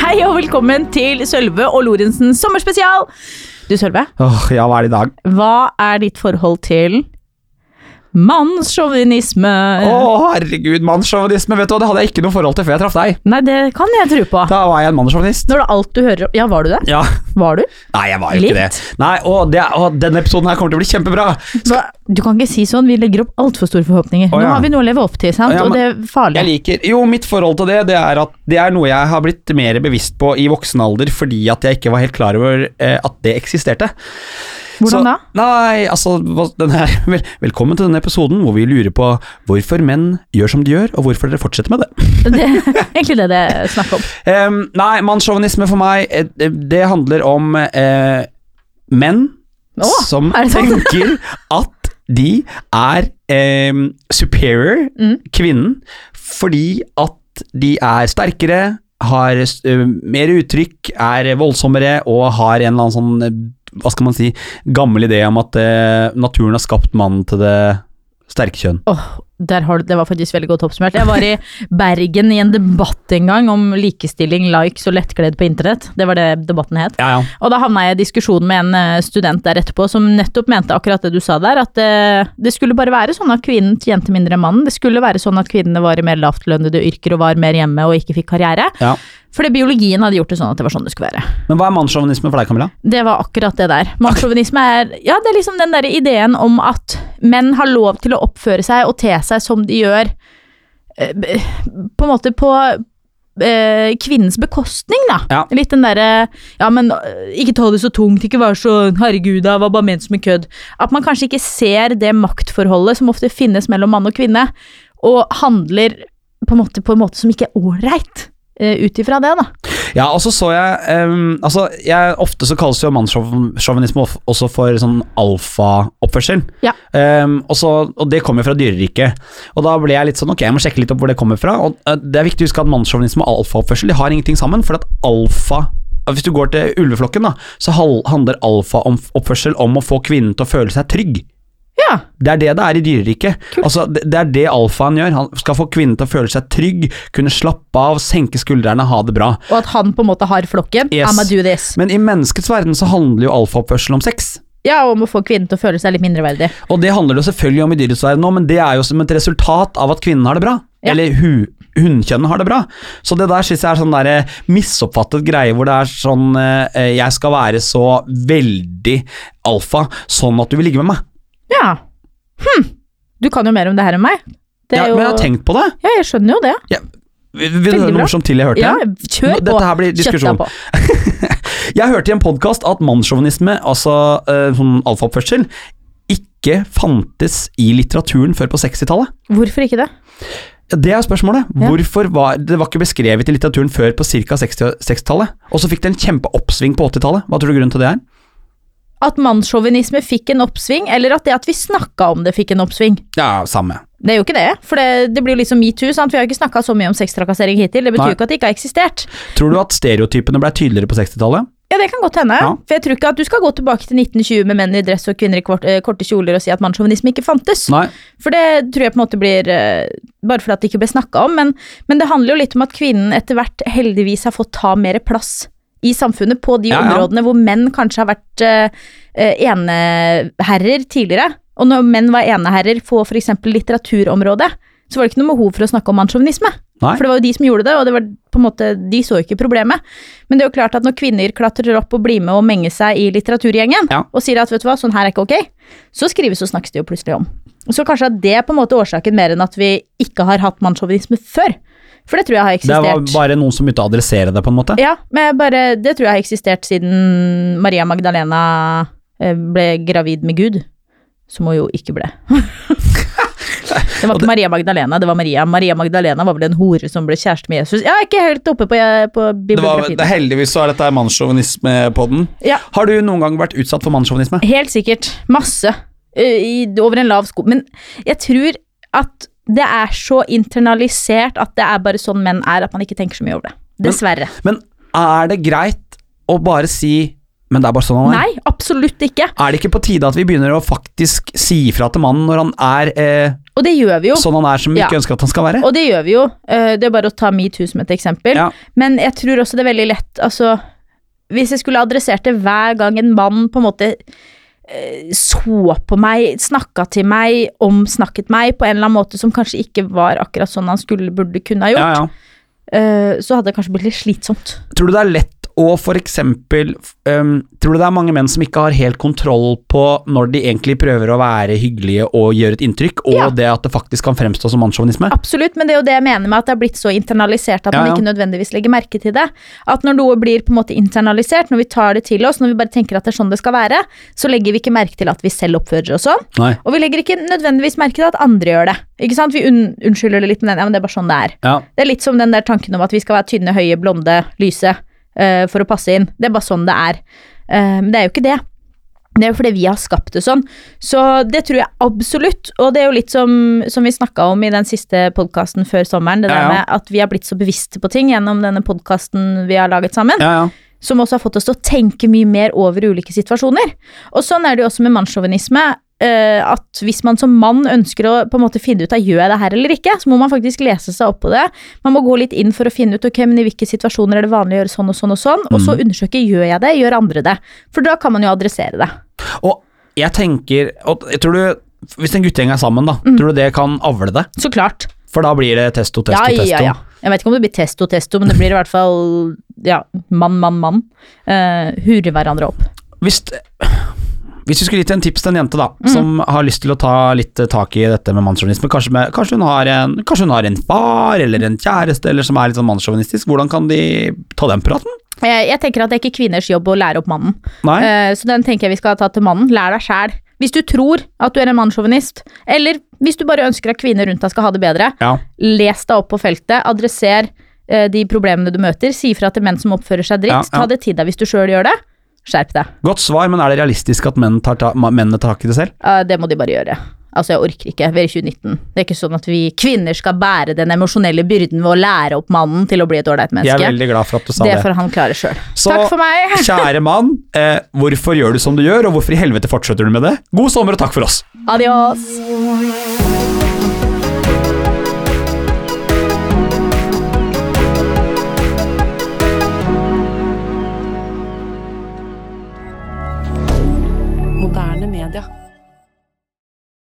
Hei og velkommen til Sølve og Lorentzens sommerspesial. Du Sølve, Åh, ja, hva er det i dag? hva er ditt forhold til mannssjåvinisme? Å, herregud, mannssjåvinisme, vet du hva, det hadde jeg ikke noe forhold til før jeg traff deg. Nei, det kan jeg tro på. Da var jeg en mannssjåvinist. Når det alt du hører om Ja, var du det? Ja. Var du? Nei, jeg var jo ikke det. Litt. Nei, å, det, å, denne episoden her kommer til å bli kjempebra. Hva? Du kan ikke si sånn, vi legger opp altfor store forhåpninger. Å, Nå ja. har vi noe å leve opp til, sant? Å, ja, og det men- er farlig. Jeg liker Jo, mitt forhold til det, det er at det er noe jeg har blitt mer bevisst på i voksen alder fordi at jeg ikke var helt klar over eh, at det eksisterte. Hvordan Så- da? Nei, altså hva- den her, vel, Velkommen til denne episoden hvor vi lurer på hvorfor menn gjør som de gjør, og hvorfor dere fortsetter med det. Det er egentlig det det er snakk om. Em, nei, mannssjåvinisme for meg, eh, det- det handler om eh, menn Å, som er det sant? tenker at de er em, superior Mm. kvinnen fordi at de er sterkere, har eh, mer uttrykk, er voldsommere og har en eller annen sånn eh, hva skal man si, gammel idé om at eh, naturen har skapt mannen til det sterke kjønn. Åh, der har du, det var faktisk veldig godt oppsummert. Jeg var i Bergen i en debatt en gang om likestilling, likes og lettkledd på internett. Det var det debatten het. Ja, ja. Og da havna jeg i diskusjon med en eh, student der etterpå som nettopp mente akkurat det du sa der, at eh, det skulle bare være sånn at kvinnen tjente mindre enn mannen. Det skulle være sånn at kvinnene var i mer lavtlønnede yrker og var mer hjemme og ikke fikk karriere. Ja. Fordi biologien hadde gjort det sånn at det var sånn det skulle være. Men hva er mannssjåvinisme for deg, Camilla? Det var akkurat det der. Mannssjåvinisme er Ja, det er liksom den derre ideen om at menn har lov til å oppføre seg og te seg som de gjør eh, b- På en måte på eh, kvinnens bekostning, da. Ja. Litt den derre Ja, men eh, ikke ta det så tungt, ikke vær så Herregud, det var bare ment som en kødd. At man kanskje ikke ser det maktforholdet som ofte finnes mellom mann og kvinne, og handler på en måte, på en måte som ikke er ålreit, eh, ut ifra det, da. Ja, og så så jeg ehm, Altså, jeg, ofte så kalles jo mannssjåvinisme of- også for sånn alfaoppførsel. Ja. Ehm, og, så- og det kommer fra dyreriket. Og da ble jeg litt sånn Ok, jeg må sjekke litt opp hvor det kommer fra. Og eh, det er viktig å huske at mannssjåvinisme og alfaoppførsel de har ingenting sammen, for at alfa hvis du går til ulveflokken, da, så hal- handler alfaoppførsel om å få kvinnen til å føle seg trygg. Ja. Det er det det er i dyreriket. Altså, det det er det alfaen gjør. Han skal få kvinnen til å føle seg trygg, kunne slappe av, senke skuldrene, ha det bra. Og at han på en måte har flokken. Yes. I'm a do this. Men i menneskets verden så handler jo alfaoppførsel om sex. Ja, og om å få kvinnen til å føle seg litt mindreverdig. Og det handler det jo selvfølgelig om i dyrets verden òg, men det er jo som et resultat av at kvinnen har det bra. Ja. Eller hu hunnkjønnet har det bra. Så det der syns jeg er sånn der eh, misoppfattet greie hvor det er sånn eh, eh, Jeg skal være så veldig alfa sånn at du vil ligge med meg. Ja. Hm. Du kan jo mer om det her enn meg. Det Ja, er jo... men jeg har tenkt på det. Ja, jeg skjønner jo det. Vil vil du Veldig høre bra. noe morsomt til jeg hørte? Ja, kjør Nå, på. Dette her blir diskusjon. på. Jeg hørte i en podkast at mannssjåvinisme, altså eh, sånn alfaoppførsel, ikke fantes i litteraturen før på 60-tallet. Hvorfor ikke det? Ja, Det er jo spørsmålet. Ja. Hvorfor var Det var ikke beskrevet i litteraturen før på ca. 60-tallet. Og så fikk det en kjempeoppsving på 80-tallet. Hva tror du grunnen til det er? At mannssjåvinisme fikk en oppsving, eller at det at vi snakka om det fikk en oppsving. Ja, samme. Det er jo ikke det, for det, det blir jo liksom metoo. sant? Vi har jo ikke snakka så mye om sextrakassering hittil. Det betyr Nei. jo ikke at det ikke har eksistert. Tror du at stereotypene ble tydeligere på 60-tallet? Ja, det kan godt hende. Ja. For jeg tror ikke at du skal gå tilbake til 1920 med menn i dress og kvinner i kvart, eh, korte kjoler og si at mannssjåvinisme ikke fantes. Nei. For det tror jeg på en måte blir eh, Bare fordi at det ikke ble snakka om, men, men det handler jo litt om at kvinnen etter hvert heldigvis har fått ta mer plass i samfunnet på de Ja, ja. områdene hvor menn kanskje har vært eh, eh, eneherrer tidligere. Og når menn var eneherrer på f.eks. litteraturområdet, så var det ikke noe behov for å snakke om mannssjåvinisme. Nei. For det var jo de som gjorde det, og det var på en måte, de så jo ikke problemet. Men det er jo klart at når kvinner klatrer opp og blir med og menger seg i litteraturgjengen, Ja. og sier at vet du hva, sånn her er ikke ok, så skrives og snakkes det jo plutselig om. Så kanskje at det er på en måte årsaken mer enn at vi ikke har hatt mannssjåvinisme før. For det tror jeg har Det var eksistert. bare noen som begynte å adressere det, på en måte. Ja, men jeg bare, det tror jeg har eksistert siden Maria Magdalena eh, ble gravid med Gud. Som hun jo ikke ble. det var ikke Maria Magdalena, det var Maria. Maria Magdalena var vel en hore som ble kjæreste med Jesus. Jeg er ikke helt oppe på, på bibliografien. heldigvis så er dette mannssjåvinisme-podden. Ja. Har du noen gang vært utsatt for mannssjåvinisme? Helt sikkert. Masse. Ø, I, over en lav sko. Men jeg tror at det er så internalisert at det er bare sånn menn er, at man ikke tenker så mye over det. Dessverre. Men er det greit å bare si Men det er bare sånn han er? Nei, Absolutt ikke. Er det ikke på tide at vi begynner å faktisk si ifra til mannen når han er eh, Og det gjør vi jo. sånn han er som vi Ja. ikke ønsker at han skal være? Og det gjør vi jo. Eh, Det er bare å ta metoo som et eksempel. Ja. Men jeg tror også det er veldig lett Altså, hvis jeg skulle adressert det hver gang en mann på en måte eh, så på meg, snakka til meg, omsnakket meg på en eller annen måte som kanskje ikke var akkurat sånn han skulle burde kunne ha Ja, gjort, ja. eh, så hadde det kanskje blitt litt slitsomt. Tror du det er lett å for eksempel øhm, Tror du det er mange menn som ikke har helt kontroll på når de egentlig prøver å være hyggelige og gjøre et inntrykk, og Ja. det at det faktisk kan fremstå som mannssjåvinisme? Absolutt, men det er jo det jeg mener med at det har blitt så internalisert at Ja, man ja. ikke nødvendigvis legger merke til det. At når noe blir på en måte internalisert, når vi tar det til oss, når vi bare tenker at det er sånn det skal være, så legger vi ikke merke til at vi selv oppfører oss sånn. Nei. Og vi legger ikke nødvendigvis merke til at andre gjør det. Ikke sant? Vi unn- unnskylder det litt med den, ja, men det er bare sånn det er. Ja. Det er litt som den der tanken om at vi skal være tynne, høye, blonde, lyse eh, for å passe inn. Det er bare sånn det er. Eh, Men det er jo ikke det. Det er jo fordi vi har skapt det sånn. Så det tror jeg absolutt. Og det er jo litt som, som vi snakka om i den siste podkasten før sommeren, det Ja, ja. der med at vi har blitt så bevisste på ting gjennom denne podkasten vi har laget sammen Ja, ja. som også har fått oss til å tenke mye mer over ulike situasjoner. Og sånn er det jo også med mannssjåvinisme. eh, at hvis man som mann ønsker å på en måte finne ut av gjør jeg det her eller ikke, så må man faktisk lese seg opp på det. Man må gå litt inn for å finne ut ok, men i hvilke situasjoner er det vanlig å gjøre sånn og sånn, og sånn, og så undersøke gjør jeg det, gjør andre det. For da kan man jo adressere det. Og jeg tenker og jeg tror du, Hvis en guttegjeng er sammen, da, Mm. tror du det kan avle det? Så klart. For da blir det testo, testo, Ja, testo. ja, ja. Jeg vet ikke om det blir testo, testo, men det blir i hvert fall ja, mann, mann, mann. Uh, Hure hverandre opp. Hvis, hvis vi skulle gitt en tips til en jente da, Mm. som har lyst til å ta litt eh, tak i dette med mannssjåvinisme, kanskje, med- kanskje, hun har en- kanskje hun har en far eller en kjæreste eller som er litt sånn mannssjåvinistisk, hvordan kan de ta den praten? Eh, jeg tenker at det er ikke kvinners jobb å lære opp mannen. Nei? Eh, Så den tenker jeg vi skal ta til mannen. Lær deg sjæl. Hvis du tror at du er en mannssjåvinist, eller hvis du bare ønsker at kvinner rundt deg skal ha det bedre, Ja. les deg opp på feltet, adresser eh, de problemene du møter, si fra til menn som oppfører seg dritt, Ja, ja. ta det til deg hvis du sjøl gjør det. Skjerp deg. Godt svar, men er det realistisk at menn tar ta, ma- mennene tar tak i det selv? Eh, Det må de bare gjøre. Altså, jeg orker ikke. Vi er i 2019. Det er ikke sånn at vi kvinner skal bære den emosjonelle byrden ved å lære opp mannen til å bli et ålreit Jeg er menneske. veldig glad for at du sa Det det. får han klare sjøl. Så- Takk for meg. Kjære mann, eh, hvorfor gjør du som du gjør, og hvorfor i helvete fortsetter du med det? God sommer og takk for oss! Adios.